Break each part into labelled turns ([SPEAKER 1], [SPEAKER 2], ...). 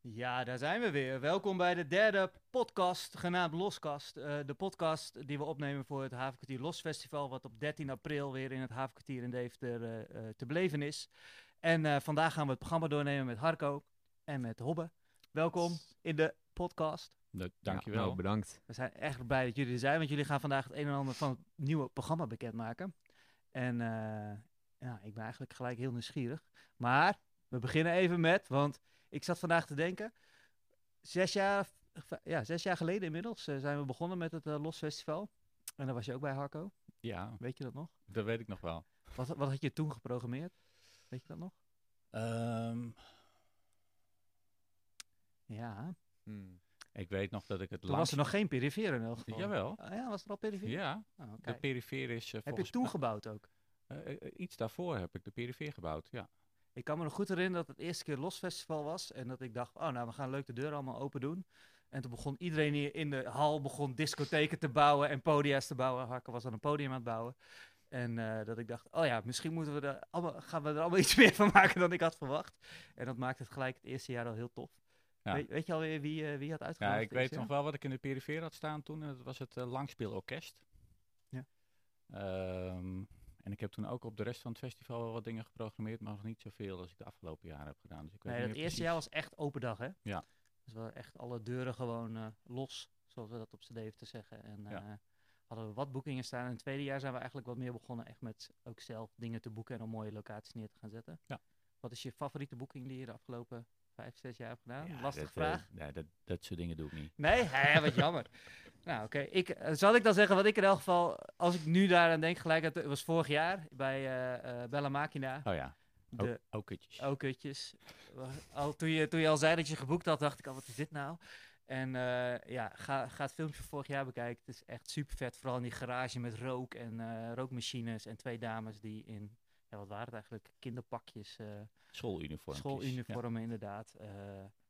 [SPEAKER 1] Ja, daar zijn we weer. Welkom bij de derde podcast, genaamd Loskast. Eh, de podcast die we opnemen voor het Havenkwartier Los Festival, wat op 13 april weer in het Havenkwartier in Deventer eh, eh, te beleven is. En eh, vandaag gaan we het programma doornemen met Harco en met Hobbe. Welkom in de podcast.
[SPEAKER 2] Nou,
[SPEAKER 3] Ja,
[SPEAKER 2] dankjewel.
[SPEAKER 3] nou, bedankt.
[SPEAKER 1] We zijn echt blij dat jullie er zijn, want jullie gaan vandaag het een en ander van het nieuwe programma bekendmaken. En eh, ja, ik ben eigenlijk gelijk heel nieuwsgierig. Maar we beginnen even met, want ik zat vandaag te denken, zes jaar, ja, zes jaar geleden inmiddels eh, zijn we begonnen met het eh, Los Festival. En daar was je ook bij Harco,
[SPEAKER 2] ja,
[SPEAKER 1] weet je dat nog?
[SPEAKER 2] dat weet ik nog wel.
[SPEAKER 1] Wat, wat had je toen geprogrammeerd? Weet je dat nog? Ehm, Ja,
[SPEAKER 2] ik weet nog dat ik het
[SPEAKER 1] toen was
[SPEAKER 2] laatst...
[SPEAKER 1] er nog geen perifere in elk geval.
[SPEAKER 2] Jawel.
[SPEAKER 1] Ah ja, was er al perifere?
[SPEAKER 2] Ja,
[SPEAKER 1] Oh,
[SPEAKER 2] de
[SPEAKER 1] kijk.
[SPEAKER 2] perifeer is eh,
[SPEAKER 1] Heb je
[SPEAKER 2] volgens
[SPEAKER 1] toen
[SPEAKER 2] mij-
[SPEAKER 1] gebouwd ook?
[SPEAKER 2] eh, eh, iets daarvoor heb ik de perifeer gebouwd, ja.
[SPEAKER 1] Ik kan me nog goed herinneren dat het eerste keer Los Festival was. En dat ik dacht, oh nou, we gaan leuk de deur allemaal open doen. En toen begon iedereen hier in de hal begon discotheken te bouwen en podia's te bouwen. Hakken was aan een podium aan het bouwen. En eh, dat ik dacht, oh ja, misschien moeten we er allemaal, gaan we er allemaal iets meer van maken dan ik had verwacht. En dat maakte het gelijk het eerste jaar al heel tof.
[SPEAKER 2] Ja.
[SPEAKER 1] Weet, weet je alweer wie, eh, wie had
[SPEAKER 2] Ja,
[SPEAKER 1] uitgenodigd?
[SPEAKER 2] ik
[SPEAKER 1] het
[SPEAKER 2] weet
[SPEAKER 1] eerste
[SPEAKER 2] nog wel wat ik in de perifeer had staan toen. En dat was het eh, Langspeelorkest.
[SPEAKER 1] Ja.
[SPEAKER 2] Ehm, en ik heb toen ook op de rest van het festival wel wat dingen geprogrammeerd, maar nog niet zoveel als ik de afgelopen jaren heb gedaan. Dus ik weet
[SPEAKER 1] Nee,
[SPEAKER 2] niet
[SPEAKER 1] dat
[SPEAKER 2] meer
[SPEAKER 1] eerste
[SPEAKER 2] precies.
[SPEAKER 1] jaar was echt open dag, hè?
[SPEAKER 2] Ja.
[SPEAKER 1] Dus we hadden echt alle deuren gewoon eh, los, zoals we dat op z'n Dave te zeggen. En
[SPEAKER 2] Ja.
[SPEAKER 1] eh, hadden we wat boekingen staan. In het tweede jaar zijn we eigenlijk wat meer begonnen echt met ook zelf dingen te boeken en op mooie locaties neer te gaan zetten.
[SPEAKER 2] Ja.
[SPEAKER 1] Wat is je favoriete boeking die je de afgelopen vijf, zes jaar hebt gedaan?
[SPEAKER 2] Ja,
[SPEAKER 1] Lastige
[SPEAKER 2] dat, eh,
[SPEAKER 1] vraag.
[SPEAKER 2] nee, dat, dat soort dingen doe ik niet.
[SPEAKER 1] Nee? Hé, wat jammer. nou, oké. Ik eh, Zal ik dan zeggen wat ik in elk geval, als ik nu daaraan denk, gelijk, het was vorig jaar bij eh, eh, Bella Macina.
[SPEAKER 2] Oh ja,
[SPEAKER 1] De,
[SPEAKER 2] ook kutjes.
[SPEAKER 1] Oh, kutjes. Al, toen, je, toen je al zei dat je geboekt had, dacht ik al, wat is dit nou? En eh, ja, ga, ga het filmpje van vorig jaar bekijken. Het is echt super vet. Vooral in die garage met rook en eh, rookmachines. En twee dames die in, ja, wat waren het eigenlijk? Kinderpakjes, eh,
[SPEAKER 2] Schooluniform.
[SPEAKER 1] schooluniformen inderdaad. Eh,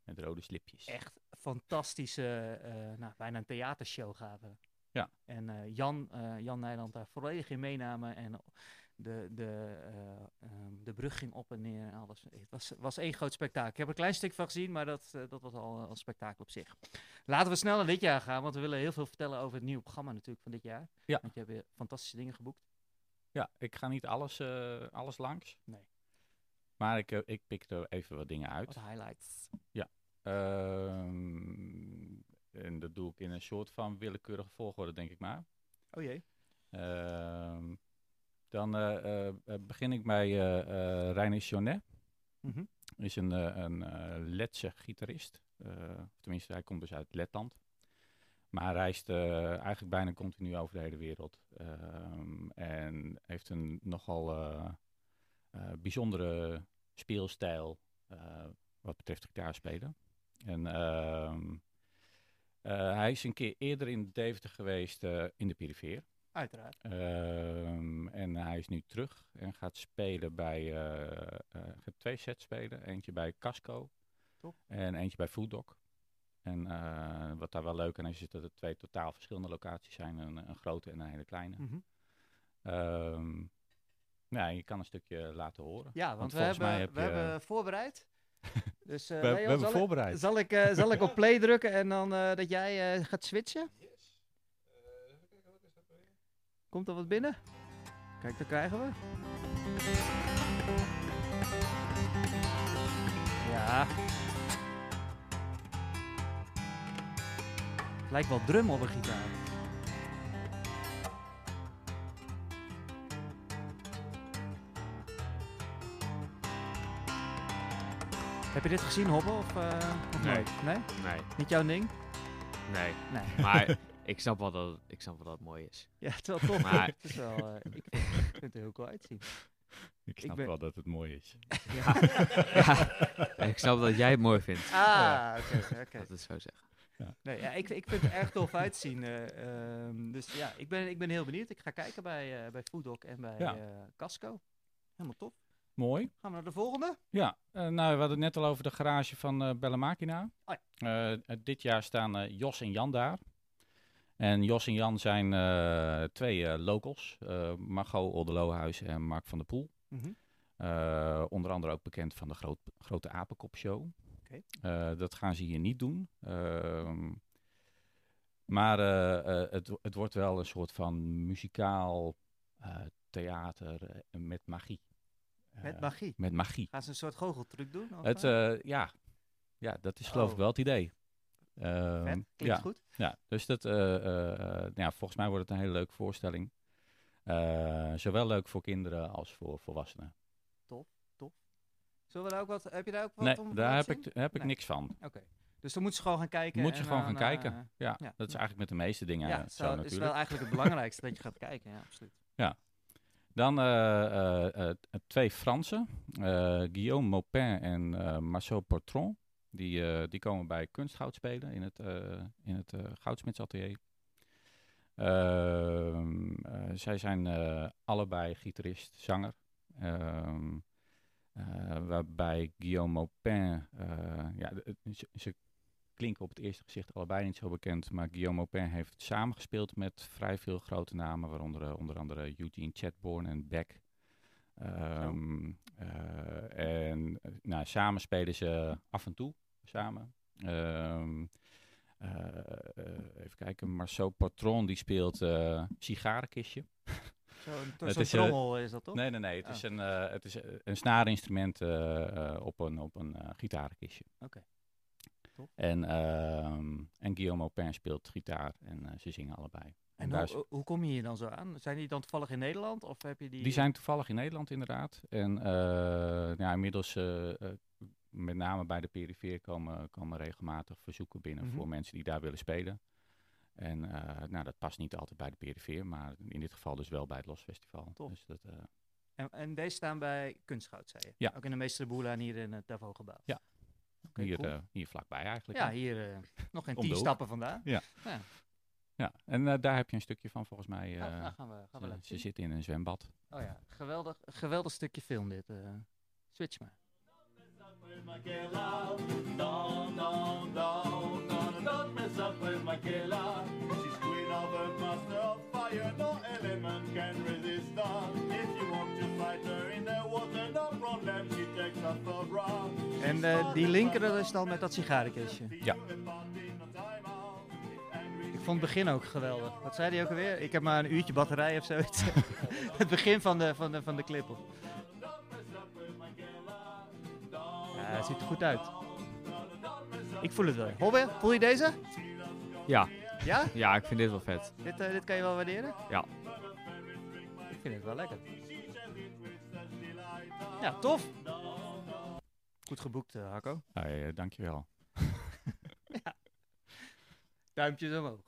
[SPEAKER 2] met rode slipjes.
[SPEAKER 1] echt fantastische, eh, nou, bijna een theatershow gaven.
[SPEAKER 2] Ja.
[SPEAKER 1] En eh, Jan, eh, Jan Nijland daar volledig in meenamen en de, de, eh, ehm, de brug ging op en neer en alles. Het was, was één groot spektakel. Ik heb er een klein stuk van gezien, maar dat, eh, dat was al eh, een spektakel op zich. Laten we snel naar dit jaar gaan, want we willen heel veel vertellen over het nieuwe programma natuurlijk van dit jaar.
[SPEAKER 2] Ja.
[SPEAKER 1] Want je hebt weer fantastische dingen geboekt.
[SPEAKER 2] Ja, ik ga niet alles, eh, alles langs.
[SPEAKER 1] Nee.
[SPEAKER 2] Maar ik, eh, ik pik er even wat dingen uit.
[SPEAKER 1] Wat highlights.
[SPEAKER 2] Ehm, en dat doe ik in een soort van willekeurige volgorde, denk ik maar.
[SPEAKER 1] Oh jee.
[SPEAKER 2] Ehm, dan eh, eh, eh, begin ik bij eh eh Reinier Jonet. is een, eh, een eh, Letse gitarist. Eh, tenminste, hij komt dus uit Letland. Maar hij reist eh, eigenlijk bijna continu over de hele wereld. Ehm, en heeft een nogal eh, eh, bijzondere speelstijl eh, wat betreft gitaarspelen. En ehm, eh, hij is een keer eerder in Deventer geweest eh, in de perifeer.
[SPEAKER 1] Uiteraard.
[SPEAKER 2] Ehm, en hij is nu terug en gaat spelen bij. eh, eh, gaat twee sets spelen. Eentje bij Casco
[SPEAKER 1] Top.
[SPEAKER 2] en eentje bij Fooddog. En eh, wat daar wel leuk aan is, is dat het twee totaal verschillende locaties zijn: een, een grote en een hele kleine.
[SPEAKER 1] Mhm.
[SPEAKER 2] Ehm, nou, ja, je kan een stukje laten horen.
[SPEAKER 1] Ja, want, we,
[SPEAKER 2] volgens
[SPEAKER 1] hebben,
[SPEAKER 2] mij heb
[SPEAKER 1] we
[SPEAKER 2] je-
[SPEAKER 1] hebben voorbereid. Dus, eh,
[SPEAKER 2] we
[SPEAKER 1] Leon,
[SPEAKER 2] hebben
[SPEAKER 1] zal ik-
[SPEAKER 2] voorbereid.
[SPEAKER 1] Zal ik, eh, zal ik op play drukken en dan eh, dat jij eh, gaat switchen? Komt er wat binnen? Kijk, daar krijgen we. Ja. Het lijkt wel drum op een gitaar. Heb je dit gezien, Hobbe? Of, eh, of
[SPEAKER 3] Nee.
[SPEAKER 1] nooit? Nee?
[SPEAKER 3] Nee,
[SPEAKER 1] Niet jouw ding?
[SPEAKER 3] nee.
[SPEAKER 1] Nee.
[SPEAKER 3] Maar ik snap wel dat, ik snap wel dat het mooi is.
[SPEAKER 1] Ja, het is wel tof.
[SPEAKER 3] Maar-
[SPEAKER 1] Het is wel, eh, ik, vind- ik vind het er heel cool uitzien.
[SPEAKER 2] Ik
[SPEAKER 1] ik
[SPEAKER 2] snap
[SPEAKER 1] ben-
[SPEAKER 2] wel dat het mooi is.
[SPEAKER 3] Ja. Ja, Ik snap dat jij het mooi vindt.
[SPEAKER 1] Ah, oké, oké, oké.
[SPEAKER 3] Dat het zo zeggen.
[SPEAKER 1] Nee, ja, ik, ik vind het er erg tof uitzien. eh, ehm, dus ja, ik ben, ik ben heel benieuwd. Ik ga kijken bij, eh bij Foodoc en bij
[SPEAKER 2] Ja.
[SPEAKER 1] eh, Casco. Helemaal top.
[SPEAKER 2] Mooi.
[SPEAKER 1] Gaan we naar de volgende?
[SPEAKER 2] Ja, eh, nou, we hadden het net al over de garage van eh Bella Macina.
[SPEAKER 1] Oh
[SPEAKER 2] Eh, eh, dit jaar staan eh, Jos en Jan daar. En Jos en Jan zijn eh, twee eh, locals. eh Margot Oldelohuis en
[SPEAKER 1] Mhm.
[SPEAKER 2] Mark van der Poel. Eh, onder andere ook bekend van de groot, Grote Apenkop Show.
[SPEAKER 1] Oké.
[SPEAKER 2] Eh, dat gaan ze hier niet doen. Ehm, maar eh, eh, het, wo- het wordt wel een soort van muzikaal eh, theater eh, met magie.
[SPEAKER 1] Met
[SPEAKER 2] Eh,
[SPEAKER 1] magie.
[SPEAKER 2] met magie.
[SPEAKER 1] Gaan ze een soort goocheltruc doen? Of
[SPEAKER 2] Het,
[SPEAKER 1] eh?
[SPEAKER 2] eh, ja. ja, dat is geloof ik
[SPEAKER 1] Oh.
[SPEAKER 2] wel het idee. Ehm,
[SPEAKER 1] Vet,
[SPEAKER 2] ja.
[SPEAKER 1] Klinkt goed.
[SPEAKER 2] Ja, dus dat, eh, eh, eh, nou ja, volgens mij wordt het een hele leuke voorstelling. Eh, zowel leuk voor kinderen als voor volwassenen.
[SPEAKER 1] Zullen we daar ook wat, heb je daar ook wat om
[SPEAKER 2] Nee,
[SPEAKER 1] te
[SPEAKER 2] daar heb
[SPEAKER 1] laten
[SPEAKER 2] ik,
[SPEAKER 1] zien?
[SPEAKER 2] daar heb ik
[SPEAKER 1] Nee.
[SPEAKER 2] niks van.
[SPEAKER 1] Oké. Dus dan moeten ze gewoon gaan kijken.
[SPEAKER 2] Moet je
[SPEAKER 1] en
[SPEAKER 2] gewoon
[SPEAKER 1] dan,
[SPEAKER 2] gaan kijken.
[SPEAKER 1] eh,
[SPEAKER 2] Ja,
[SPEAKER 1] ja.
[SPEAKER 2] dat is eigenlijk met de meeste dingen
[SPEAKER 1] ja, het
[SPEAKER 2] zo
[SPEAKER 1] zou-
[SPEAKER 2] natuurlijk.
[SPEAKER 1] is wel eigenlijk het belangrijkste dat je gaat kijken. Ja, absoluut.
[SPEAKER 2] Dan eh, eh, eh, t- twee Fransen, eh, Guillaume Maupin en eh, Marceau Portron. Die, eh, die komen bij Kunstgoud spelen in het, eh, in het eh, Goudsmidsatelier. Ehm, eh, zij zijn eh, allebei gitarist, zanger. Ehm, eh, waarbij Guillaume Maupin, eh, ja, de- het- ze, ze klinken op het eerste gezicht allebei niet zo bekend, maar Guillaume Maupin heeft samengespeeld met vrij veel grote namen, waaronder eh, onder andere Eugene Chadbourne en Beck. Ehm, eh, en eh, nou, samen spelen ze af en toe samen. Ehm, eh, eh, even kijken, Marceau Patron die speelt eh sigarenkistje.
[SPEAKER 1] Zo'n
[SPEAKER 2] Het
[SPEAKER 1] zo'n
[SPEAKER 2] is, eh,
[SPEAKER 1] trommel is dat toch?
[SPEAKER 2] Nee, nee, nee. Het
[SPEAKER 1] Ah.
[SPEAKER 2] is een, eh, het is eh, een snaarinstrument eh, eh, op een, op een eh, gitarenkistje.
[SPEAKER 1] Oké. Top.
[SPEAKER 2] En, ehm, en Guillaume Maupin speelt gitaar en eh, ze zingen allebei.
[SPEAKER 1] En
[SPEAKER 2] daar
[SPEAKER 1] hoe,
[SPEAKER 2] is-
[SPEAKER 1] hoe- hoe kom je hier dan zo aan? Zijn die dan toevallig in Nederland? Of heb je die...
[SPEAKER 2] Die zijn toevallig in Nederland inderdaad. En eh, ja, inmiddels, eh, eh, met name bij de perifeer, komen, komen regelmatig verzoeken binnen
[SPEAKER 1] Mhm.
[SPEAKER 2] voor mensen die daar willen spelen. En eh, nou, dat past niet altijd bij de perifeer, maar in dit geval dus wel bij het Los Festival.
[SPEAKER 1] Tof.
[SPEAKER 2] Dus dat, eh,
[SPEAKER 1] En, en deze staan bij Kunstgoud, zei je?
[SPEAKER 2] Ja.
[SPEAKER 1] Ook in de meeste boel en hier in het Davo-gebouw?
[SPEAKER 2] Ja.
[SPEAKER 1] Oké,
[SPEAKER 2] hier,
[SPEAKER 1] cool.
[SPEAKER 2] eh, hier vlakbij eigenlijk.
[SPEAKER 1] ja,
[SPEAKER 2] hè.
[SPEAKER 1] hier eh, nog geen
[SPEAKER 2] Om de
[SPEAKER 1] tien
[SPEAKER 2] hoek.
[SPEAKER 1] stappen vandaan.
[SPEAKER 2] Ja, en eh, daar heb je een stukje van volgens mij.
[SPEAKER 1] nou,
[SPEAKER 2] eh,
[SPEAKER 1] nou, gaan we, gaan we
[SPEAKER 2] ze-
[SPEAKER 1] laten
[SPEAKER 2] ze
[SPEAKER 1] zien.
[SPEAKER 2] zitten in een zwembad.
[SPEAKER 1] Oh ja, geweldig, geweldig stukje film dit. eh. switch maar.
[SPEAKER 4] Down, down, down, down, don't mess up with my killer. She's queen of earth, master of fire, no element can resist her. If you want to fight her in the water, no problem, she takes us for bra.
[SPEAKER 1] En eh, die linker, dat is dan met dat sigarenkistje.
[SPEAKER 2] Ja.
[SPEAKER 1] Ik vond het begin ook geweldig. Wat zei hij ook alweer? Ik heb maar een uurtje batterij of zoiets. het begin van de, van de, van de clip. of- Ja, het ziet er goed uit. Ik voel het wel. Hobbe, voel je deze?
[SPEAKER 3] Ja.
[SPEAKER 1] Ja?
[SPEAKER 3] ja, ik vind dit wel vet.
[SPEAKER 1] Dit, eh, dit kan je wel waarderen?
[SPEAKER 3] Ja.
[SPEAKER 1] Ik vind het wel lekker. Ja, tof. Goed geboekt, eh, Hakko.
[SPEAKER 2] Ah, ja, dankjewel.
[SPEAKER 1] Duimpjes omhoog.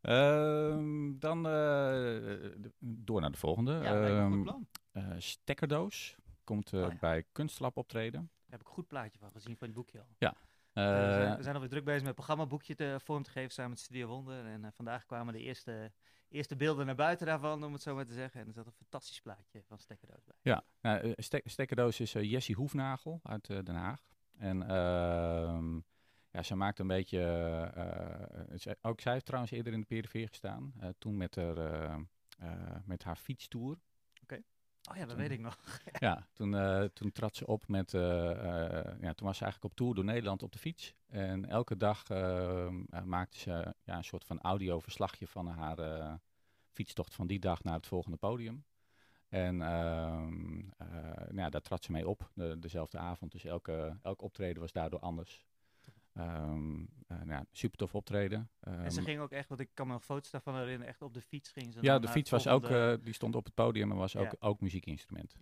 [SPEAKER 2] Ehm, dan eh, de- door naar de volgende.
[SPEAKER 1] Ja, lijkt me een goed
[SPEAKER 2] Ehm,
[SPEAKER 1] plan.
[SPEAKER 2] eh, stekkerdoos komt eh,
[SPEAKER 1] Oh ja.
[SPEAKER 2] bij Kunstlab optreden.
[SPEAKER 1] Daar heb ik een goed plaatje van gezien van het boekje al.
[SPEAKER 2] Eh,
[SPEAKER 1] Eh, we, zijn, we zijn alweer druk bezig met het programmaboekje te, vorm te geven samen met Studio Wonder. En eh, vandaag kwamen de eerste, eerste beelden naar buiten daarvan, om het zo maar te zeggen. En er zat een fantastisch plaatje van Stekkerdoos bij.
[SPEAKER 2] ja, nou, eh, stek- stekkerdoos is eh, Jessie Hoefnagel uit eh, Den Haag. En ehm, ja, ze maakt een beetje... eh, eh, zij- ook zij heeft trouwens eerder in de periferie gestaan. eh, toen met haar, eh, eh, met haar fietstoer.
[SPEAKER 1] Oh ja, dat
[SPEAKER 2] Toen-
[SPEAKER 1] weet ik nog.
[SPEAKER 2] Ja, toen, eh, toen trad ze op met. eh, eh, ja, toen was ze eigenlijk op tour door Nederland op de fiets. En elke dag eh, eh, maakte ze ja, een soort van audioverslagje van haar eh, fietstocht van die dag naar het volgende podium. En ehm, eh, nou ja, daar trad ze mee op de, dezelfde avond. Dus elke, elk optreden was daardoor anders. Ehm eh, nou ja, super tof optreden.
[SPEAKER 1] en ze
[SPEAKER 2] Ehm,
[SPEAKER 1] ging ook echt, want ik kan me nog foto's daarvan herinneren, echt op de fiets ging ze.
[SPEAKER 2] ja,
[SPEAKER 1] dan
[SPEAKER 2] de
[SPEAKER 1] naar
[SPEAKER 2] fiets
[SPEAKER 1] het
[SPEAKER 2] was ook,
[SPEAKER 1] volgende-
[SPEAKER 2] eh, die stond op het podium en was ook,
[SPEAKER 1] Ja.
[SPEAKER 2] ook muziekinstrument.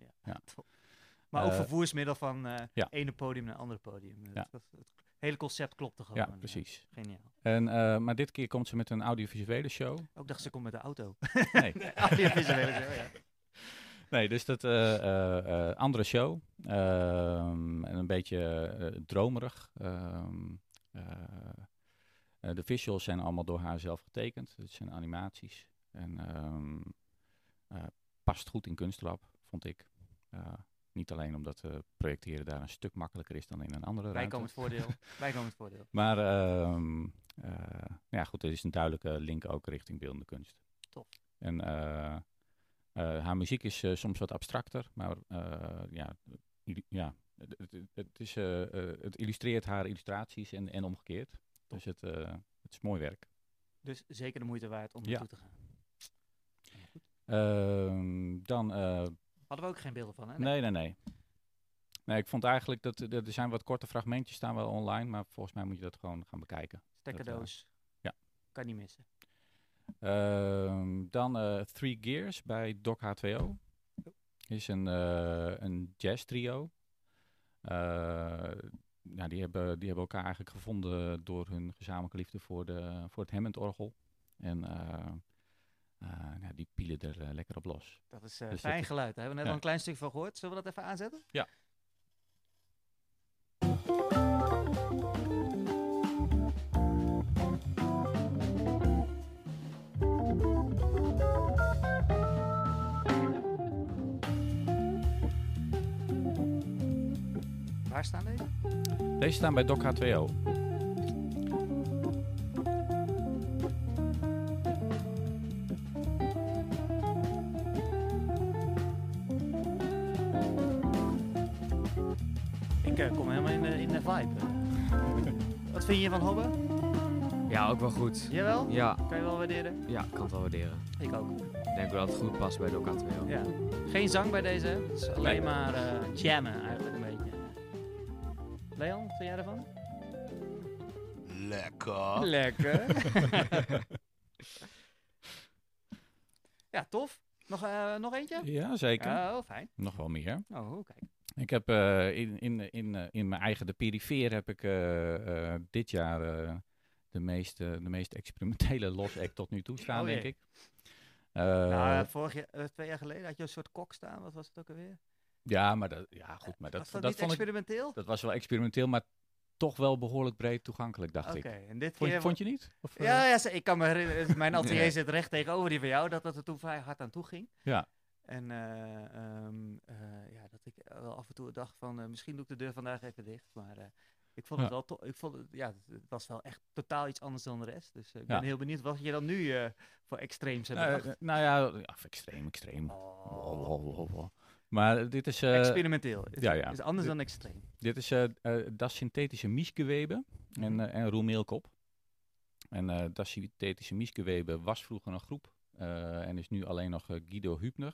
[SPEAKER 1] maar ook
[SPEAKER 2] eh,
[SPEAKER 1] vervoersmiddel van eh
[SPEAKER 2] ja.
[SPEAKER 1] ene podium naar andere podium. Het,
[SPEAKER 2] Ja.
[SPEAKER 1] was- het hele concept klopte gewoon.
[SPEAKER 2] Ja,
[SPEAKER 1] eh,
[SPEAKER 2] precies.
[SPEAKER 1] Geniaal.
[SPEAKER 2] En, eh, maar dit keer komt ze met een audiovisuele show.
[SPEAKER 1] Ook dacht ze komt met de auto.
[SPEAKER 2] Nee.
[SPEAKER 1] Audiovisuele show, ja.
[SPEAKER 2] Nee, dus dat eh, eh, eh, andere show. Ehm, en een beetje eh, dromerig. Ehm, eh, eh, de visuals zijn allemaal door haar zelf getekend. Het zijn animaties. En ehm, eh, past goed in kunstlab, vond ik. Eh, niet alleen omdat eh, projecteren daar een stuk makkelijker is dan in een andere ruimte.
[SPEAKER 1] Bijkomend voordeel. Bijkomend voordeel.
[SPEAKER 2] Maar ehm, eh, ja, goed, er is een duidelijke link ook richting beeldende kunst.
[SPEAKER 1] Top.
[SPEAKER 2] En eh, eh, haar muziek is eh, soms wat abstracter, maar eh, ja, i- ja, Het, het, het is, eh, eh, het illustreert haar illustraties en, en omgekeerd. Dus het, eh, het is mooi werk.
[SPEAKER 1] Dus zeker de moeite waard om
[SPEAKER 2] Ja.
[SPEAKER 1] naartoe te gaan.
[SPEAKER 2] Ehm, dan, eh,
[SPEAKER 1] Hadden we ook geen beelden van, hè?
[SPEAKER 2] nee, nee, nee. Nee, ik vond eigenlijk dat dat- er zijn wat korte fragmentjes staan wel online, maar volgens mij moet je dat gewoon gaan bekijken.
[SPEAKER 1] Stekkerdoos.
[SPEAKER 2] eh, ja.
[SPEAKER 1] Kan niet missen.
[SPEAKER 2] Ehm, dan eh, Three Gears bij Doc H2O. Is een, eh, een jazz trio. Eh, nou, die, hebben, die hebben elkaar eigenlijk gevonden door hun gezamenlijke liefde voor, de, voor het Hammond-orgel. En eh, eh, nou, die pielen er eh, lekker op los.
[SPEAKER 1] Dat is eh
[SPEAKER 2] Dus dat
[SPEAKER 1] fijn
[SPEAKER 2] is-
[SPEAKER 1] geluid. Daar hebben we net
[SPEAKER 2] ja.
[SPEAKER 1] al een klein stuk van gehoord. Zullen we dat even aanzetten?
[SPEAKER 2] Ja.
[SPEAKER 1] Waar staan deze?
[SPEAKER 2] Deze staan bij Doc H2O.
[SPEAKER 1] Ik eh, kom helemaal in de, in de vibe. Wat vind je van Hobbe?
[SPEAKER 3] Ja, ook wel goed.
[SPEAKER 1] Jawel?
[SPEAKER 3] Ja,
[SPEAKER 1] Kan je wel waarderen?
[SPEAKER 3] ja, ik kan het wel waarderen.
[SPEAKER 1] Ik ook.
[SPEAKER 3] Ik denk wel dat het goed past bij Doc H2O.
[SPEAKER 1] Ja. Geen zang bij deze. hè? Het is alleen
[SPEAKER 2] Nee.
[SPEAKER 1] maar eh, jammen eigenlijk een beetje. Leon, wat vind jij ervan?
[SPEAKER 4] Lekker.
[SPEAKER 1] Lekker. ja, tof. Nog, eh, nog eentje?
[SPEAKER 2] Ja, zeker.
[SPEAKER 1] Oh, fijn.
[SPEAKER 2] Nog wel meer.
[SPEAKER 1] Oh, kijk.
[SPEAKER 2] Ik heb eh, in, in, in, eh, in mijn eigen de perifeer heb ik eh, eh, dit jaar eh, de, meest, eh, de meest experimentele los act tot nu toe staan,
[SPEAKER 1] Oh jee.
[SPEAKER 2] denk ik. Eh,
[SPEAKER 1] Nou, vorig jaar, eh, twee jaar geleden had je een soort kok staan. Wat was het ook alweer?
[SPEAKER 2] ja, maar dat, ja, goed, maar dat,
[SPEAKER 1] was dat,
[SPEAKER 2] dat,
[SPEAKER 1] niet
[SPEAKER 2] vond ik,
[SPEAKER 1] experimenteel?
[SPEAKER 2] dat was wel experimenteel, maar toch wel behoorlijk breed toegankelijk, dacht
[SPEAKER 1] Oké,
[SPEAKER 2] ik.
[SPEAKER 1] en dit
[SPEAKER 2] Vond, je-
[SPEAKER 1] keer...
[SPEAKER 2] vond je niet? Of, eh,
[SPEAKER 1] Ja, ja, ze- ik kan me herinneren. dus Mijn atelier
[SPEAKER 2] Nee.
[SPEAKER 1] zit recht tegenover die van jou. Dat dat er toen vrij hard aan toe ging.
[SPEAKER 2] Ja.
[SPEAKER 1] En eh, ehm, eh, ja, dat ik wel af en toe dacht van... eh, misschien doe ik de deur vandaag even dicht. Maar eh, ik vond het
[SPEAKER 2] Ja.
[SPEAKER 1] wel tof. Ik vond het, ja, het- het was wel echt totaal iets anders dan de rest. Dus eh, ik
[SPEAKER 2] Ja.
[SPEAKER 1] ben heel benieuwd wat je dan nu eh, voor extreems hebt
[SPEAKER 2] Nou,
[SPEAKER 1] bedacht.
[SPEAKER 2] eh, nou ja, ja, extreem, extreem.
[SPEAKER 1] Oh,
[SPEAKER 2] Maar dit is, eh,
[SPEAKER 1] Experimenteel. Is,
[SPEAKER 2] ja, ja.
[SPEAKER 1] is anders
[SPEAKER 2] Dit-
[SPEAKER 1] dan extreem.
[SPEAKER 2] Dit is eh eh, das synthetische mieskeweben en,
[SPEAKER 1] Mhm.
[SPEAKER 2] eh, en roemeelkop. En eh das synthetische mieskeweben was vroeger een groep eh, en is nu alleen nog eh, Guido Hübner.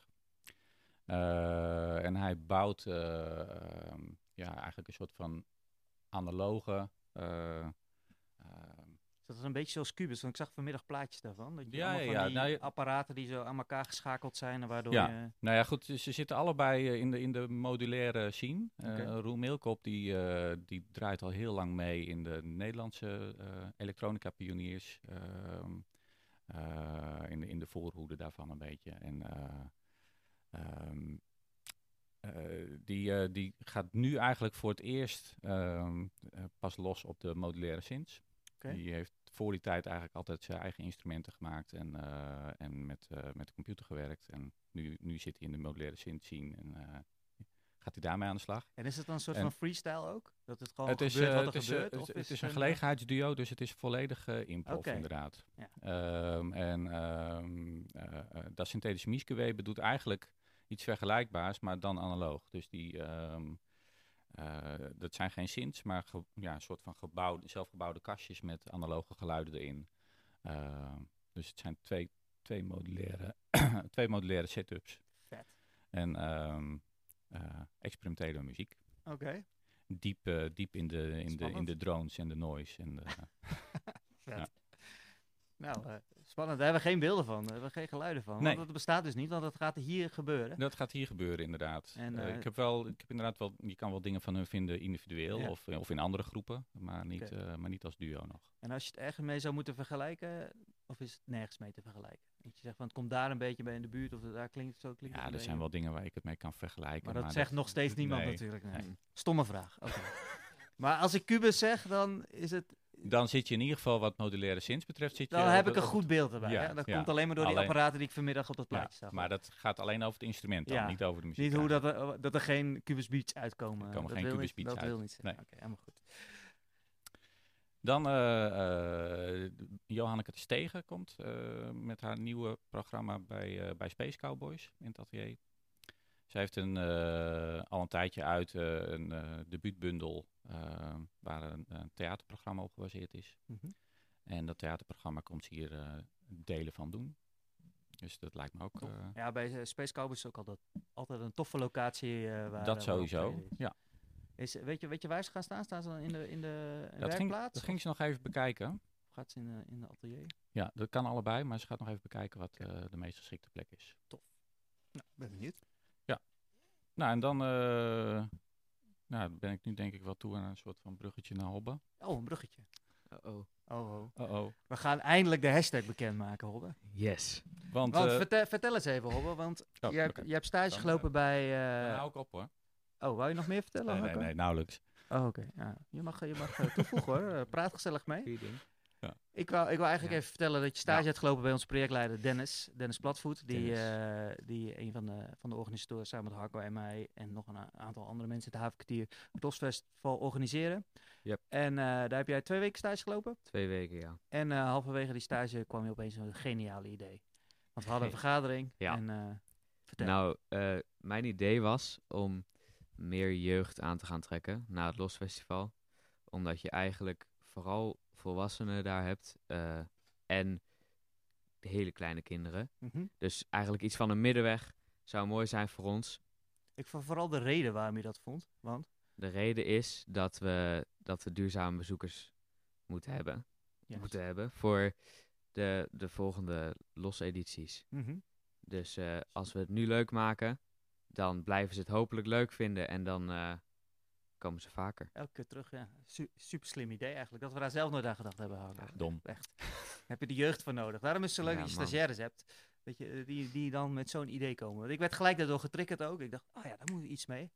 [SPEAKER 2] Eh, en hij bouwt eh, ehm, ja, eigenlijk een soort van analoge... eh, ehm,
[SPEAKER 1] Dus dat is een beetje zoals Cubus, want ik zag vanmiddag plaatjes daarvan. Dat je
[SPEAKER 2] Ja,
[SPEAKER 1] allemaal
[SPEAKER 2] ja,
[SPEAKER 1] van
[SPEAKER 2] ja.
[SPEAKER 1] die
[SPEAKER 2] Nou, je-
[SPEAKER 1] apparaten die zo aan elkaar geschakeld zijn en waardoor
[SPEAKER 2] Ja.
[SPEAKER 1] je...
[SPEAKER 2] Nou ja, goed, ze- ze zitten allebei eh, in de, in de modulaire scene. Eh
[SPEAKER 1] Oké.
[SPEAKER 2] Roel Meelkop die, eh, die draait al heel lang mee in de Nederlandse eh, elektronica-pioniers. ehm, eh, in, de, in de voorhoede daarvan een beetje. En eh, ehm, eh, die, eh, die gaat nu eigenlijk voor het eerst ehm, eh, pas los op de modulaire synths.
[SPEAKER 1] Oké.
[SPEAKER 2] Die heeft voor die tijd eigenlijk altijd zijn eigen instrumenten gemaakt en, eh, en met, eh, met de computer gewerkt. En nu, nu zit hij in de modulaire synth scene en eh, gaat hij daarmee aan de slag.
[SPEAKER 1] En is het dan een soort
[SPEAKER 2] En-
[SPEAKER 1] van freestyle ook? Dat het gewoon
[SPEAKER 2] het is,
[SPEAKER 1] Oh, gebeurt
[SPEAKER 2] eh,
[SPEAKER 1] wat er
[SPEAKER 2] het is, eh,
[SPEAKER 1] gebeurt?
[SPEAKER 2] het-
[SPEAKER 1] of
[SPEAKER 2] het is een
[SPEAKER 1] eh,
[SPEAKER 2] gelegenheidsduo, dus het is volledig eh improv
[SPEAKER 1] Oké.
[SPEAKER 2] inderdaad.
[SPEAKER 1] Ja.
[SPEAKER 2] Ehm, en ehm, eh, eh, dat synthetische mieskeweben doet eigenlijk iets vergelijkbaars, maar dan analoog. Dus die, ehm, eh, dat zijn geen synths, maar ge- ja, een soort van gebouw, zelfgebouwde kastjes met analoge geluiden erin. Ehm, dus het zijn twee, twee, modulaire, twee modulaire setups.
[SPEAKER 1] Vet.
[SPEAKER 2] En ehm, eh, experimentele muziek
[SPEAKER 1] Oké.
[SPEAKER 2] diep, eh, diep in, de, in, de, in
[SPEAKER 1] Spannend.
[SPEAKER 2] de drones en de noise. En de,
[SPEAKER 1] Nou, eh, spannend. Daar hebben we geen beelden van. Daar hebben we geen geluiden van.
[SPEAKER 2] Nee.
[SPEAKER 1] Want dat bestaat dus niet, want dat gaat hier gebeuren.
[SPEAKER 2] dat gaat hier gebeuren inderdaad.
[SPEAKER 1] En,
[SPEAKER 2] Eh,
[SPEAKER 1] eh,
[SPEAKER 2] ik heb wel, ik heb inderdaad wel, je kan wel dingen van hun vinden individueel
[SPEAKER 1] Ja.
[SPEAKER 2] of, of in andere groepen, maar niet,
[SPEAKER 1] Oké.
[SPEAKER 2] eh, maar niet als duo nog.
[SPEAKER 1] En als je het ergens mee zou moeten vergelijken, of is het nergens mee te vergelijken? Dat je zegt van het komt daar een beetje bij in de buurt, of daar klinkt het zo. Klinkt het
[SPEAKER 2] Ja,
[SPEAKER 1] een
[SPEAKER 2] er zijn
[SPEAKER 1] beetje.
[SPEAKER 2] wel dingen waar ik het mee kan vergelijken.
[SPEAKER 1] Maar dat zegt nog steeds niemand
[SPEAKER 2] nee.
[SPEAKER 1] natuurlijk. nee.
[SPEAKER 2] Nee.
[SPEAKER 1] Stomme vraag. Oké. maar als ik Cubus zeg, dan is het
[SPEAKER 2] Dan zit je in ieder geval wat modulaire synths betreft. Zit je
[SPEAKER 1] Dan
[SPEAKER 2] op
[SPEAKER 1] heb
[SPEAKER 2] het-
[SPEAKER 1] ik een
[SPEAKER 2] op
[SPEAKER 1] goed beeld erbij.
[SPEAKER 2] Ja,
[SPEAKER 1] hè? Dat
[SPEAKER 2] ja.
[SPEAKER 1] komt alleen maar door die
[SPEAKER 2] Alleen-
[SPEAKER 1] apparaten die ik vanmiddag op dat
[SPEAKER 2] het-
[SPEAKER 1] plaatje
[SPEAKER 2] ja,
[SPEAKER 1] zag.
[SPEAKER 2] maar dat gaat alleen over het instrument dan,
[SPEAKER 1] Ja.
[SPEAKER 2] niet over de muziek.
[SPEAKER 1] Niet hoe
[SPEAKER 2] eigenlijk.
[SPEAKER 1] dat er, dat er geen Cubus Beats uitkomen.
[SPEAKER 2] Er komen
[SPEAKER 1] dat
[SPEAKER 2] geen
[SPEAKER 1] wil
[SPEAKER 2] Cubus
[SPEAKER 1] niet,
[SPEAKER 2] Beats
[SPEAKER 1] dat
[SPEAKER 2] uit.
[SPEAKER 1] wil niet zeggen.
[SPEAKER 2] Nee.
[SPEAKER 1] Oké, helemaal goed.
[SPEAKER 2] Dan eh eh Johanneke de Stegen komt eh, met haar nieuwe programma bij, eh, bij Space Cowboys in het atelier. Ze heeft een, eh, al een tijdje uit eh, een eh, debuutbundel eh, waar een, een theaterprogramma op gebaseerd is.
[SPEAKER 1] Mhm.
[SPEAKER 2] En dat theaterprogramma komt ze hier eh, delen van doen. Dus dat lijkt me ook.
[SPEAKER 1] Tof.
[SPEAKER 2] eh,
[SPEAKER 1] Ja, bij eh, Space Cowboys is ook altijd, altijd een toffe locatie. eh, waar, eh, waar
[SPEAKER 2] dat sowieso.
[SPEAKER 1] optreden is.
[SPEAKER 2] Ja,
[SPEAKER 1] Is, weet, je, weet je waar ze gaan staan? Staan ze dan in de, in de
[SPEAKER 2] dat ging,
[SPEAKER 1] werkplaats?
[SPEAKER 2] dat ging ze nog even bekijken.
[SPEAKER 1] Of gaat ze in de, in de atelier?
[SPEAKER 2] Ja, dat kan allebei, maar ze gaat nog even bekijken wat eh, de meest geschikte plek is.
[SPEAKER 1] Nou, ben benieuwd.
[SPEAKER 2] Nou, en dan eh, nou, ben ik nu denk ik wel toe aan een soort van bruggetje naar Hobbe.
[SPEAKER 1] Oh, een bruggetje.
[SPEAKER 3] oh
[SPEAKER 1] Oh, oh.
[SPEAKER 2] Uh-oh.
[SPEAKER 1] We gaan eindelijk de hashtag bekendmaken, Hobbe.
[SPEAKER 3] Yes.
[SPEAKER 2] Want,
[SPEAKER 1] Want
[SPEAKER 2] eh,
[SPEAKER 1] vertel, vertel eens even, Hobbe, want
[SPEAKER 2] oh,
[SPEAKER 1] je, hebt,
[SPEAKER 2] oké.
[SPEAKER 1] je hebt stage
[SPEAKER 2] Dan,
[SPEAKER 1] gelopen bij... eh,
[SPEAKER 2] Dan hou ik op hoor.
[SPEAKER 1] Oh, wou je nog meer vertellen?
[SPEAKER 2] Nee, nee,
[SPEAKER 1] Marco?
[SPEAKER 2] nee, nauwelijks.
[SPEAKER 1] Oh, oké. Ja. Je mag, je mag eh, toevoegen hoor. Eh, Praat gezellig mee. Ik wou, ik wou eigenlijk
[SPEAKER 3] Ja.
[SPEAKER 1] even vertellen dat je stage
[SPEAKER 2] Ja.
[SPEAKER 1] hebt gelopen bij onze projectleider Dennis. Dennis Platvoet. Die,
[SPEAKER 2] Dennis.
[SPEAKER 1] eh, die een van de, van de organisatoren samen met Harco en mij en nog een a- aantal andere mensen in het havenkwartier het Losfestival organiseren.
[SPEAKER 3] Yep.
[SPEAKER 1] En eh, daar heb jij twee weken stage gelopen.
[SPEAKER 3] Twee weken, ja.
[SPEAKER 1] En eh, halverwege die stage kwam je opeens met een geniale idee. Want we hadden een vergadering.
[SPEAKER 3] Ja.
[SPEAKER 1] En, eh, vertel.
[SPEAKER 3] Nou, eh, mijn idee was om meer jeugd aan te gaan trekken na het Los Festival. Omdat je eigenlijk vooral volwassenen daar hebt eh, en hele kleine kinderen.
[SPEAKER 1] Mhm.
[SPEAKER 3] Dus eigenlijk iets van een middenweg zou mooi zijn voor ons.
[SPEAKER 1] Ik vond vooral de reden waarom je dat vond. Want,
[SPEAKER 3] De reden is dat we, dat we duurzame bezoekers moeten hebben,
[SPEAKER 1] ja.
[SPEAKER 3] moeten hebben voor de, de volgende Los edities.
[SPEAKER 1] Mhm.
[SPEAKER 3] Dus eh, als we het nu leuk maken, dan blijven ze het hopelijk leuk vinden en dan eh, komen ze vaker.
[SPEAKER 1] Elke keer terug, ja. Su- super slim idee eigenlijk. Dat we daar zelf nooit aan gedacht hebben. Harco.
[SPEAKER 2] Dom.
[SPEAKER 1] Echt. Heb je de jeugd voor nodig. Daarom is het zo leuk
[SPEAKER 3] Ja,
[SPEAKER 1] dat je
[SPEAKER 3] man.
[SPEAKER 1] stagiaires hebt. Dat je, eh, die, die dan met zo'n idee komen. Want ik werd gelijk daardoor getriggerd ook. Ik dacht, oh ja, daar moet iets mee.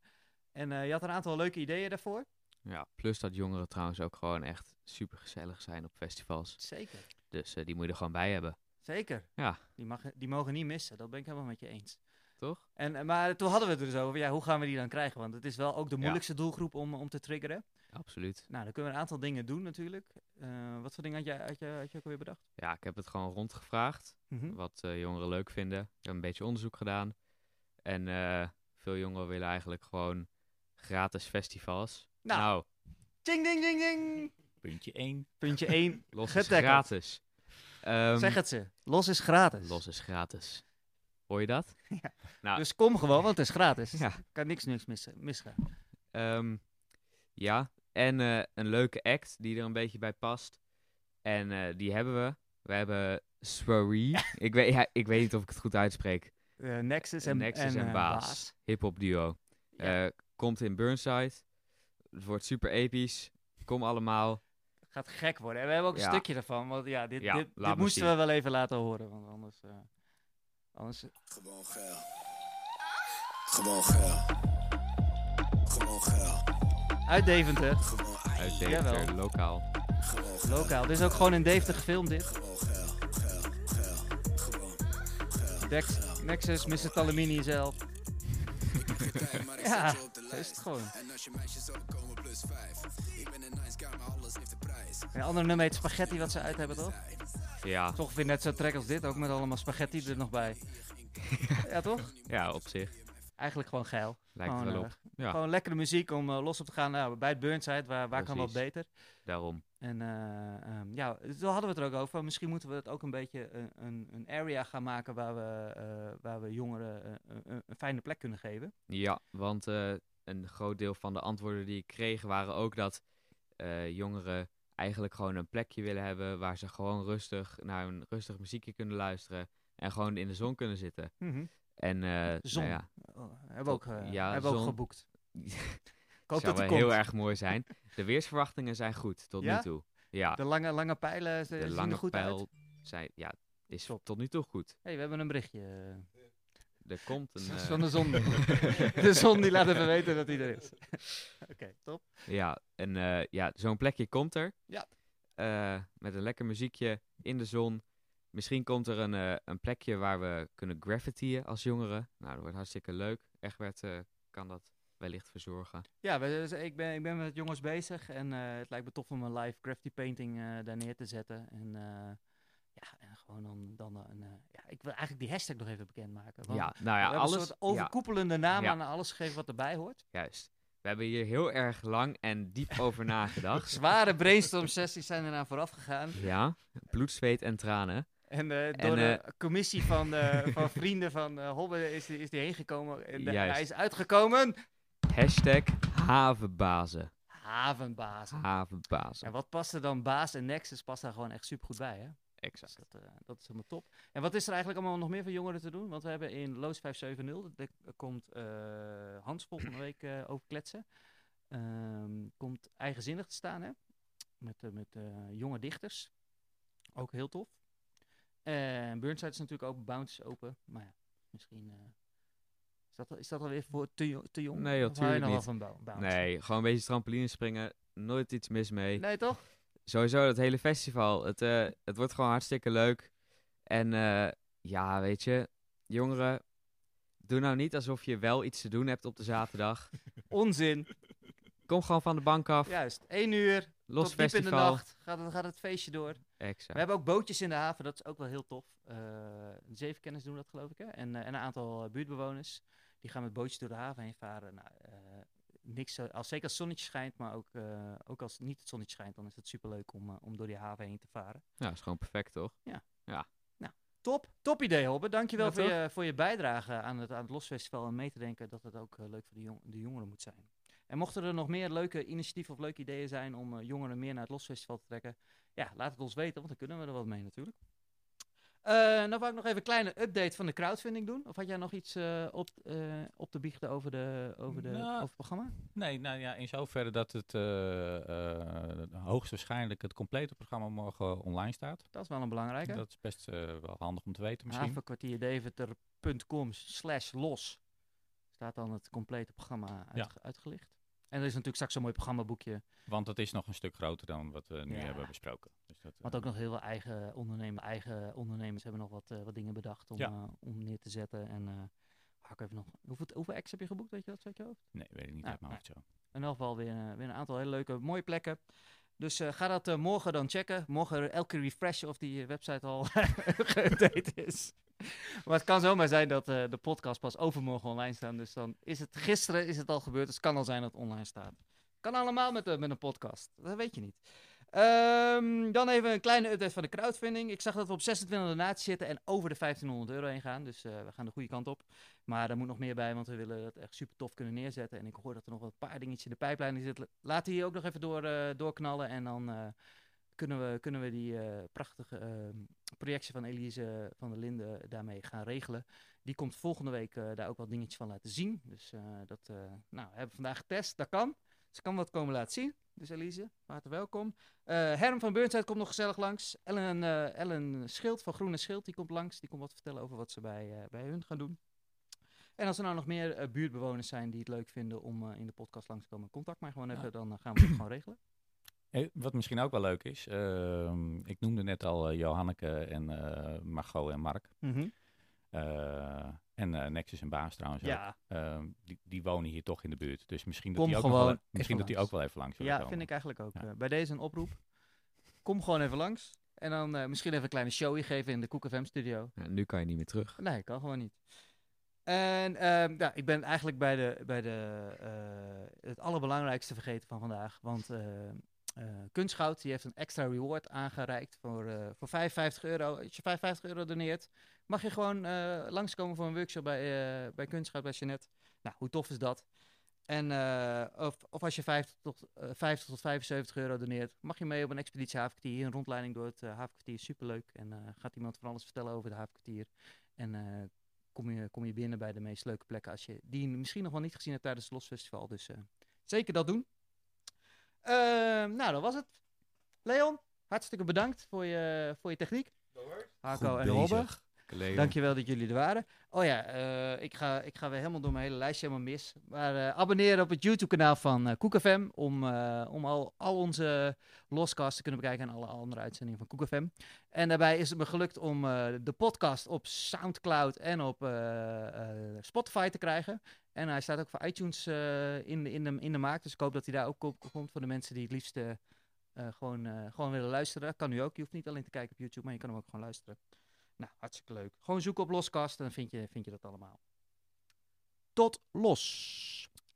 [SPEAKER 1] En eh, je had een aantal leuke ideeën daarvoor.
[SPEAKER 3] Ja. Plus dat jongeren trouwens ook gewoon echt super gezellig zijn op festivals.
[SPEAKER 1] Zeker.
[SPEAKER 3] Dus eh, die moet je er gewoon bij hebben,
[SPEAKER 1] Zeker.
[SPEAKER 3] Ja.
[SPEAKER 1] Die, mag, die mogen niet missen. Dat ben ik helemaal met je eens.
[SPEAKER 3] toch?
[SPEAKER 1] En, eh, maar toen hadden we het er dus over. Ja, hoe gaan we die dan krijgen? Want het is wel ook de
[SPEAKER 3] Ja.
[SPEAKER 1] moeilijkste doelgroep om, om te triggeren.
[SPEAKER 3] Absoluut.
[SPEAKER 1] Nou, dan kunnen we een aantal dingen doen natuurlijk. Eh, wat voor dingen had jij, had, jij, had jij ook weer bedacht?
[SPEAKER 3] Ja, ik heb het gewoon rondgevraagd
[SPEAKER 1] Mhm.
[SPEAKER 3] wat eh, jongeren leuk vinden. Ik heb een beetje onderzoek gedaan. En eh, veel jongeren willen eigenlijk gewoon gratis festivals.
[SPEAKER 1] Nou.
[SPEAKER 3] nou
[SPEAKER 1] Ding, ding, ding, ding!
[SPEAKER 2] Puntje 1.
[SPEAKER 1] Puntje 1.
[SPEAKER 3] los is
[SPEAKER 1] Getackeld.
[SPEAKER 3] gratis. Ehm,
[SPEAKER 1] zeg het ze. Los is gratis.
[SPEAKER 3] Los is gratis. Hoor je dat? Ja.
[SPEAKER 1] Dus kom gewoon, want het is gratis.
[SPEAKER 3] Ah. Ja.
[SPEAKER 1] Kan niks, niks missen, misgaan.
[SPEAKER 3] Ehm, ja, en eh, een leuke act die er een beetje bij past. En eh, die hebben we. We hebben Swaree. ik, weet, ja, ik weet niet of ik het goed uitspreek.
[SPEAKER 1] Eh, Nexus en,
[SPEAKER 3] Nexus en,
[SPEAKER 1] eh,
[SPEAKER 3] Baas. Hip-hop duo.
[SPEAKER 1] Ja.
[SPEAKER 3] Eh, komt in Burnside. Het wordt super episch. Kom allemaal.
[SPEAKER 1] Gaat gek worden. En we hebben ook een
[SPEAKER 3] Ja.
[SPEAKER 1] stukje daarvan. Want ja, dit,
[SPEAKER 3] Ja,
[SPEAKER 1] dit,
[SPEAKER 3] laat
[SPEAKER 1] dit
[SPEAKER 3] me
[SPEAKER 1] moesten
[SPEAKER 3] zien.
[SPEAKER 1] we wel even laten horen. Want anders... eh, anders
[SPEAKER 5] Gewoon geil. Gewoon geil. Gewoon geil.
[SPEAKER 1] uit Deventer,
[SPEAKER 5] Gewoon
[SPEAKER 3] Uit
[SPEAKER 5] ei.
[SPEAKER 3] Deventer,
[SPEAKER 1] Jawel.
[SPEAKER 3] lokaal.
[SPEAKER 5] Gewoon geil.
[SPEAKER 1] lokaal. Dit is ook gewoon in Deventer gefilmd dit.
[SPEAKER 5] Gewoon geil. Geil. Geil. Gewoon.
[SPEAKER 1] Dex, Nexus, Mr. Talamini zelf. Ja,
[SPEAKER 5] Ja,
[SPEAKER 1] zo
[SPEAKER 5] dat
[SPEAKER 1] is het gewoon.
[SPEAKER 5] En als je meisjes zou komen, plus 5. Ik ben een nice guy, maar alles heeft een prijs.
[SPEAKER 1] Een andere nummer heet Spaghetti wat ze uit hebben toch?
[SPEAKER 3] Ja,
[SPEAKER 1] Toch weer net zo trek als dit. Ook met allemaal spaghetti er nog bij. ja toch?
[SPEAKER 3] ja, op zich.
[SPEAKER 1] Eigenlijk gewoon geil.
[SPEAKER 3] Lijkt
[SPEAKER 1] gewoon,
[SPEAKER 3] er wel
[SPEAKER 1] eh,
[SPEAKER 3] op. Ja.
[SPEAKER 1] Gewoon lekkere muziek om eh, los op te gaan. Nou, bij het Burnside, waar, waar kan wat
[SPEAKER 3] Precies.
[SPEAKER 1] beter?
[SPEAKER 3] Daarom.
[SPEAKER 1] En eh, ehm, ja, zo hadden we het er ook over. van Misschien moeten we het ook een beetje een, een, een area gaan maken waar we, eh, waar we jongeren eh, een, een- een fijne plek kunnen geven.
[SPEAKER 3] Ja, want eh, een groot deel van de antwoorden die ik kreeg waren ook dat eh, jongeren eigenlijk gewoon een plekje willen hebben waar ze gewoon rustig naar een rustig muziekje kunnen luisteren en gewoon in de zon kunnen zitten. En eh, nou
[SPEAKER 1] Zon.
[SPEAKER 3] ja,
[SPEAKER 1] Oh, hebben we ook, eh,
[SPEAKER 3] Ja,
[SPEAKER 1] hebben we ook
[SPEAKER 3] zon.
[SPEAKER 1] geboekt. Ik hoop
[SPEAKER 3] zou
[SPEAKER 1] dat
[SPEAKER 3] wel
[SPEAKER 1] die
[SPEAKER 3] heel
[SPEAKER 1] komt.
[SPEAKER 3] erg mooi zijn. De weersverwachtingen zijn goed tot
[SPEAKER 1] Ja?
[SPEAKER 3] nu toe. Ja,
[SPEAKER 1] De lange, lange pijlen ze-
[SPEAKER 3] de,
[SPEAKER 1] eh, zien er
[SPEAKER 3] lange
[SPEAKER 1] goed
[SPEAKER 3] pijl
[SPEAKER 1] uit.
[SPEAKER 3] zijn, ja, is
[SPEAKER 1] Top.
[SPEAKER 3] tot nu toe goed.
[SPEAKER 1] hey, we hebben een berichtje. eh,
[SPEAKER 3] Er komt een. eh,
[SPEAKER 1] Van de zon. de zon die laat even weten dat hij er is. Oké, top.
[SPEAKER 3] Ja, en eh, ja, zo'n plekje komt er.
[SPEAKER 1] Ja.
[SPEAKER 3] Eh, met een lekker muziekje in de zon. Misschien komt er een, eh, een plekje waar we kunnen graffitiën als jongeren. Nou, dat wordt hartstikke leuk. Egbert eh, kan dat wellicht verzorgen.
[SPEAKER 1] Ja, we- dus ik, ben, ik ben met jongens bezig en eh, het lijkt me tof om een live graffiti painting eh, daar neer te zetten. En eh, Ja, en gewoon dan, dan een, eh, ja, ik wil eigenlijk die hashtag nog even bekendmaken. Want
[SPEAKER 3] Ja, nou
[SPEAKER 1] we
[SPEAKER 3] ja,
[SPEAKER 1] hebben
[SPEAKER 3] alles.
[SPEAKER 1] een soort overkoepelende naam
[SPEAKER 3] Ja.
[SPEAKER 1] aan alles gegeven wat erbij hoort.
[SPEAKER 3] ja, juist. We hebben hier heel erg lang en diep over nagedacht.
[SPEAKER 1] Zware brainstorm sessies zijn eraan vooraf gegaan.
[SPEAKER 3] Ja, bloed, zweet en tranen.
[SPEAKER 1] En eh, door
[SPEAKER 3] eh,
[SPEAKER 1] een commissie van, eh, van vrienden van eh Hobbe is, die- is die heen gekomen. En de-
[SPEAKER 3] Juist.
[SPEAKER 1] hij is uitgekomen.
[SPEAKER 3] Hashtag havenbazen.
[SPEAKER 1] Havenbazen. Ah. En
[SPEAKER 3] Havenbazen.
[SPEAKER 1] wat past er dan? Baas en Nexus past daar gewoon echt super goed bij, hè? Dus
[SPEAKER 3] Exact.
[SPEAKER 1] dat, eh, dat is helemaal top. En wat is er eigenlijk allemaal nog meer voor jongeren te doen? Want we hebben in Loods 570, daar k- komt eh, Hans volgende week eh, over kletsen. Ehm, komt eigenzinnig te staan, hè? Met, eh, met eh, jonge dichters. Ook heel tof. En Burnside is natuurlijk open, Bounty is open. Maar ja, misschien... eh, is, dat, al- is dat alweer voor te, jo- te jong?
[SPEAKER 3] Nee, joh,
[SPEAKER 1] Of hou je
[SPEAKER 3] tuurlijk
[SPEAKER 1] nog wel
[SPEAKER 3] niet.
[SPEAKER 1] van Bou- Bounty?
[SPEAKER 3] Nee, gewoon een beetje trampoline springen. Nooit iets mis mee.
[SPEAKER 1] Nee, toch?
[SPEAKER 3] Sowieso dat hele festival. Het, eh, het wordt gewoon hartstikke leuk. En eh, ja, weet je, jongeren, doe nou niet alsof je wel iets te doen hebt op de zaterdag.
[SPEAKER 1] Onzin.
[SPEAKER 3] Kom gewoon van de bank af.
[SPEAKER 1] Juist. Eén uur,
[SPEAKER 3] los
[SPEAKER 1] tot diep in de
[SPEAKER 3] festival.
[SPEAKER 1] nacht, gaat het, gaat het feestje door.
[SPEAKER 3] Exact.
[SPEAKER 1] We hebben ook bootjes in de haven, dat is ook wel heel tof. Eh, zeven kennis doen dat, geloof ik. Hè? En, eh, en een aantal eh, buurtbewoners. Die gaan met bootjes door de haven heen varen. Nou, eh, niks, zo- als, zeker als het zonnetje schijnt, maar ook, eh, ook als niet het zonnetje schijnt, dan is het superleuk om, eh, om door die haven heen te varen.
[SPEAKER 3] Nou, is gewoon perfect, toch?
[SPEAKER 1] Top, top idee, Hobbe. Dankjewel
[SPEAKER 3] Ja,
[SPEAKER 1] voor,
[SPEAKER 3] toch?
[SPEAKER 1] je, voor je bijdrage aan het, aan het Losfestival. En mee te denken dat het ook eh, leuk voor de, jong- de jongeren moet zijn. En mochten er nog meer leuke initiatieven of leuke ideeën zijn om eh, jongeren meer naar het Losfestival te trekken, ja, laat het ons weten, want dan kunnen we er wat mee natuurlijk. Eh nou wou ik nog even een kleine update van de crowdfunding doen. Of had jij nog iets eh, op, eh, op te biechten over, de, over, de,
[SPEAKER 2] Nou.
[SPEAKER 1] over het programma?
[SPEAKER 2] Nee, nou ja, in zoverre dat het eh, eh, hoogstwaarschijnlijk het complete programma morgen online staat.
[SPEAKER 1] Dat is wel een belangrijke.
[SPEAKER 2] Dat is best eh, wel handig om te weten misschien.
[SPEAKER 1] havenkwartierdeventer.com slash los staat dan het complete programma uitge- uitgelicht. En er is natuurlijk straks zo'n mooi programmaboekje,
[SPEAKER 2] Want dat is nog een stuk groter dan wat we nu
[SPEAKER 1] Ja.
[SPEAKER 2] hebben besproken. Dus dat,
[SPEAKER 1] want
[SPEAKER 2] eh,
[SPEAKER 1] ook nog heel veel eigen, ondernemen, eigen ondernemers hebben nog wat, eh, wat dingen bedacht om,
[SPEAKER 2] Ja.
[SPEAKER 1] eh, om neer te zetten. En eh hak even nog, hoeveel, hoeveel acts heb je geboekt, weet je dat, weet je hoofd?
[SPEAKER 2] Nee, weet ik niet
[SPEAKER 1] Nou,
[SPEAKER 2] uit mijn hoofd zo.
[SPEAKER 1] In elk geval weer, eh, weer een aantal hele leuke, mooie plekken. Dus eh, ga dat eh, morgen dan checken. Morgen elke refresh of die eh, website al geüpdate is. Maar het kan zomaar zijn dat eh, de podcast pas overmorgen online staat. Dus dan is het gisteren is het al gebeurd. Dus het kan al zijn dat het online staat. Kan allemaal met, een- met een podcast. Dat weet je niet. Ehm, dan even een kleine update van de crowdfunding. Ik zag dat we op 26 donaties zitten en over de 1500 euro heen gaan. Dus eh, we gaan de goede kant op. Maar daar moet nog meer bij, want we willen dat echt super tof kunnen neerzetten. En ik hoor dat er nog wel een paar dingetjes in de pijpleiding zitten. Laat die hier ook nog even door, eh, doorknallen. En dan eh, kunnen, we, kunnen we die eh, prachtige ehm, projectie van Elise van der Linden daarmee gaan regelen. Die komt volgende week eh, daar ook wat dingetjes van laten zien. Dus eh, dat eh, nou, hebben we vandaag getest. Dat kan. Ze kan wat komen laten zien. Dus Elise, hartelijk welkom. Eh, Herm van Burnside komt nog gezellig langs. Ellen, eh, Ellen Schild van Groene Schild die komt langs. Die komt wat vertellen over wat ze bij, eh, bij hun gaan doen. En als er nou nog meer eh, buurtbewoners zijn die het leuk vinden om eh, in de podcast langs te komen, contact mij gewoon even. Dan eh, gaan we het gewoon regelen.
[SPEAKER 2] Eh, wat misschien ook wel leuk is, ehm, ik noemde net al eh, Johanneke en eh, Margot en Mark. Eh, en eh, Nexus en Baas trouwens ook.
[SPEAKER 1] Ja,
[SPEAKER 2] Ehm, die, die wonen hier toch in de buurt. Dus misschien dat,
[SPEAKER 1] Kom
[SPEAKER 2] die ook,
[SPEAKER 1] gewoon
[SPEAKER 2] nog wel,
[SPEAKER 1] even
[SPEAKER 2] misschien dat die
[SPEAKER 1] langs.
[SPEAKER 2] ook wel even langs zullen
[SPEAKER 1] ja
[SPEAKER 2] komen.
[SPEAKER 1] vind ik eigenlijk ook.
[SPEAKER 2] Ja.
[SPEAKER 1] eh, bij deze een oproep. Kom gewoon even langs. En dan eh, misschien even een kleine show geven in de Koek FM studio.
[SPEAKER 3] Nou, nu kan je niet meer terug.
[SPEAKER 1] Nee, kan gewoon niet. En ehm, ja, ik ben eigenlijk bij, de, bij de, eh, het allerbelangrijkste vergeten van vandaag. Want eh, eh, Kunstgoud die heeft een extra reward aangereikt voor, eh, voor 55 euro. Als je 55 euro doneert, mag je gewoon eh, langskomen voor een workshop bij, eh, bij Kunstgoud, bij Jeanette. Nou, hoe tof is dat? En, eh, of, of als je 50 tot, eh, 50 tot 75 euro doneert, mag je mee op een expeditie havenkwartier. Een rondleiding door het eh, havenkwartier, superleuk. En eh, gaat iemand van alles vertellen over het havenkwartier. En eh, kom, je, kom je binnen bij de meest leuke plekken als je die misschien nog wel niet gezien hebt tijdens het Losfestival. Dus eh, zeker dat doen. Ehm, nou, dat was het. Leon, hartstikke bedankt voor je, voor je techniek. Harko
[SPEAKER 2] Goed
[SPEAKER 1] en Robbe.
[SPEAKER 2] bezig.
[SPEAKER 3] Collega.
[SPEAKER 1] Dankjewel dat jullie er waren. Oh ja, eh, ik, ga, ik ga weer helemaal door mijn hele lijstje helemaal mis. Maar eh, abonneer op het YouTube-kanaal van eh KoekFM om, eh, om al, al onze loscasts te kunnen bekijken en alle andere uitzendingen van KoekFM. En daarbij is het me gelukt om eh, de podcast op Soundcloud en op eh, eh, Spotify te krijgen. En hij staat ook voor iTunes eh, in, de- in, de, in de maak, dus ik hoop dat hij daar ook op komt voor de mensen die het liefst... eh, eh, eh, gewoon, eh, gewoon willen luisteren, kan nu ook. Je hoeft niet alleen te kijken op YouTube, maar je kan hem ook gewoon luisteren. Nou, hartstikke leuk. Gewoon zoeken op Loskast en dan vind je, vind je dat allemaal. Tot los.